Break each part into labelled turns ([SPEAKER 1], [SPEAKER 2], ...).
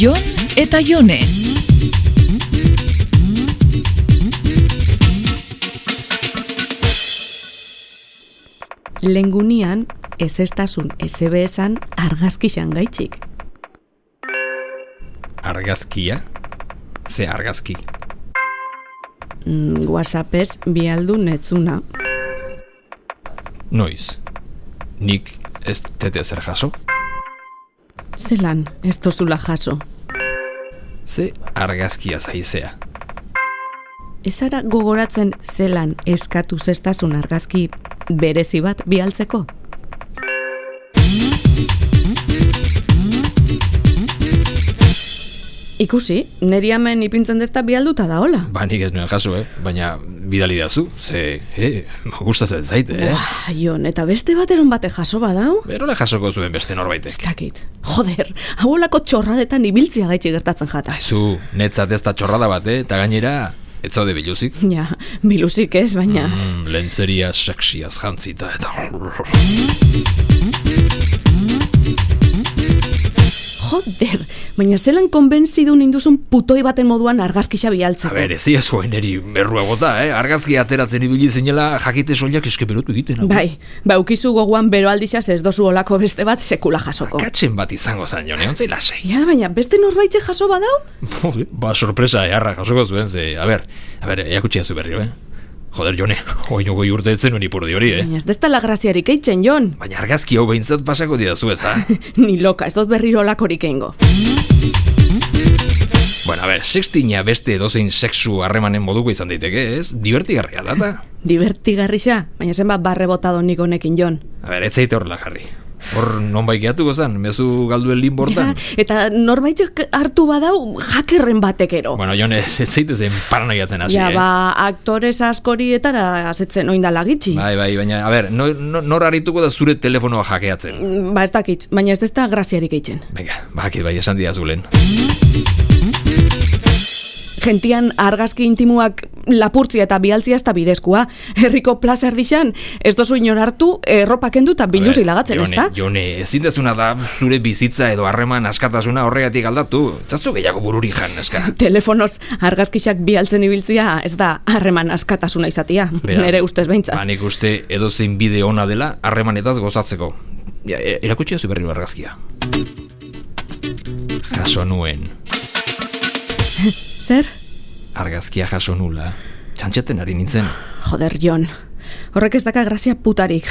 [SPEAKER 1] Jon eta Jone.
[SPEAKER 2] Lengunian, ez estasun ezebe esan argazkixan gaitxik.
[SPEAKER 3] Argazkia? Ze argazki?
[SPEAKER 2] Mm, Whatsappez bialdu netzuna.
[SPEAKER 3] Noiz? Nik ez tete zer jaso?
[SPEAKER 2] Zelan, ez dozula jaso.
[SPEAKER 3] Ze argazkia zaizea?
[SPEAKER 2] Ez ara gogoratzen zelan eskatu zestasun argazki berezi bat bialtzeko? Ikusi, neri hemen ipintzen desta bialduta da hola.
[SPEAKER 3] Ba nik ez nuen jaso, eh? Baina bidali dazu, ze, eh, gustatzen zait, eh?
[SPEAKER 2] Buah, Jon, eta beste bateron bate jaso badau?
[SPEAKER 3] Berola jasoko zuen beste norbaitek.
[SPEAKER 2] Ez dakit. Joder, haulako txorradetan ibiltzia gaitxe gertatzen jata.
[SPEAKER 3] Zu, netzat ez da txorrada bat, eh? Eta gainera, ez zaude biluzik.
[SPEAKER 2] Ja, biluzik ez, baina...
[SPEAKER 3] Mm, lentzeria sexiaz jantzita eta...
[SPEAKER 2] Joder, baina zelan konbentzidun induzun putoi baten moduan argazkixa
[SPEAKER 3] A
[SPEAKER 2] bialtzeko.
[SPEAKER 3] ber, ez ia zuen eri berrua gota, eh? Argazki ateratzen ibili zinela jakite soilak eske berotu egiten. hau.
[SPEAKER 2] Bai, baukizu gogoan bero aldixaz ez dozu olako beste bat sekula jasoko.
[SPEAKER 3] Katzen bat izango zan, jone, ontzei lasai.
[SPEAKER 2] Ja, baina beste norbaitxe jaso badau?
[SPEAKER 3] Jode, ba, sorpresa, eharra jasoko zuen, ze, a ber, a ber, eakutsia zu berri, eh? Joder, jone, oino goi urte etzen hori purdi hori, eh?
[SPEAKER 2] Baina ez desta lagraziarik eitzen, Jon.
[SPEAKER 3] Baina argazki hau behintzat pasako didazu, ez da?
[SPEAKER 2] Ni loka, ez dut berriro olakorik eingo.
[SPEAKER 3] bueno, a ber, sextina beste edozein sexu harremanen moduko izan daiteke, ez? Divertigarria da, eta?
[SPEAKER 2] Divertigarrixa, baina zenbat barre botado nik honekin, Jon.
[SPEAKER 3] A ber, ez zaite horrela jarri. Hor, non baikeatuko zan, mezu galduen linbortan?
[SPEAKER 2] Ja, eta norbaitxek hartu badau jakerren batekero.
[SPEAKER 3] Bueno, jone, ez zaite zen paranoiatzen hasi,
[SPEAKER 2] ja,
[SPEAKER 3] eh?
[SPEAKER 2] ba, aktores askorietara asetzen oindala gitxi.
[SPEAKER 3] Bai, bai, baina, a ber, nor, nor- nor arituko da zure telefonoa jakeatzen.
[SPEAKER 2] Ba, ez dakit, baina ez desta graziarik eitzen.
[SPEAKER 3] Venga, bakit bai, esan didazu lehen.
[SPEAKER 2] Gentian argazki intimuak lapurtzia eta bialtzia eta bidezkua. Herriko plaza erdixan, ez dozu inor hartu, erropa kendu eta biluz lagatzen,
[SPEAKER 3] Jone,
[SPEAKER 2] ez da?
[SPEAKER 3] Jone, ezin dezuna da zure bizitza edo harreman askatasuna horregatik aldatu. Zaztu gehiago bururi jan, eska.
[SPEAKER 2] Telefonoz argazkixak bialtzen ibiltzia, ez da harreman askatasuna izatia.
[SPEAKER 3] Bera,
[SPEAKER 2] Nere ustez behintzat.
[SPEAKER 3] Ba, nik uste edozein bide ona dela harremanetaz gozatzeko. Ja, e- erakutsi zu berri bargazkia. Jaso nuen.
[SPEAKER 2] Zer?
[SPEAKER 3] Argazkia jaso nula. Txantxeten ari nintzen.
[SPEAKER 2] Joder, Jon. Horrek ez daka grazia putarik.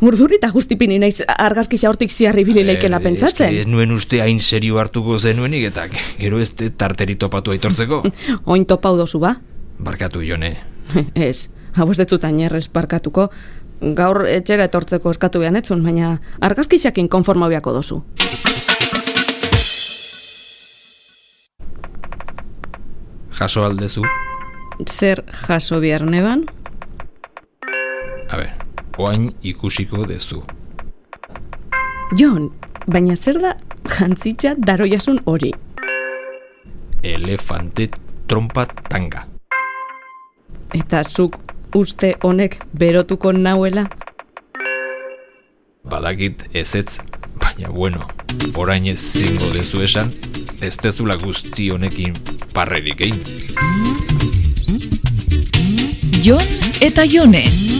[SPEAKER 2] Urduri eta guztipini naiz argazkixa hortik ziarri bilileikela
[SPEAKER 3] Eh,
[SPEAKER 2] pentsatzen.
[SPEAKER 3] eske Ez nuen uste hain serio hartuko zenuenik eta gero ez te tarteri topatu aitortzeko.
[SPEAKER 2] Oin topau dozu ba?
[SPEAKER 3] Barkatu jone.
[SPEAKER 2] Ez, hau ez dut ainerrez parkatuko. Gaur etxera etortzeko eskatu behar netzun, baina argazkixakin konforma biako dozu.
[SPEAKER 3] Jaso aldezu.
[SPEAKER 2] Zer jaso behar neban?
[SPEAKER 3] A ber, oain ikusiko dezu.
[SPEAKER 2] Jon, baina zer da jantzitza daroiasun hori?
[SPEAKER 3] Elefante trompa tanga.
[SPEAKER 2] Eta zuk uste honek berotuko nauela?
[SPEAKER 3] Badakit ezetz, baina bueno, orain ez zingo dezu esan, ez dezula guzti honekin parrerik egin.
[SPEAKER 1] Jon eta Jone.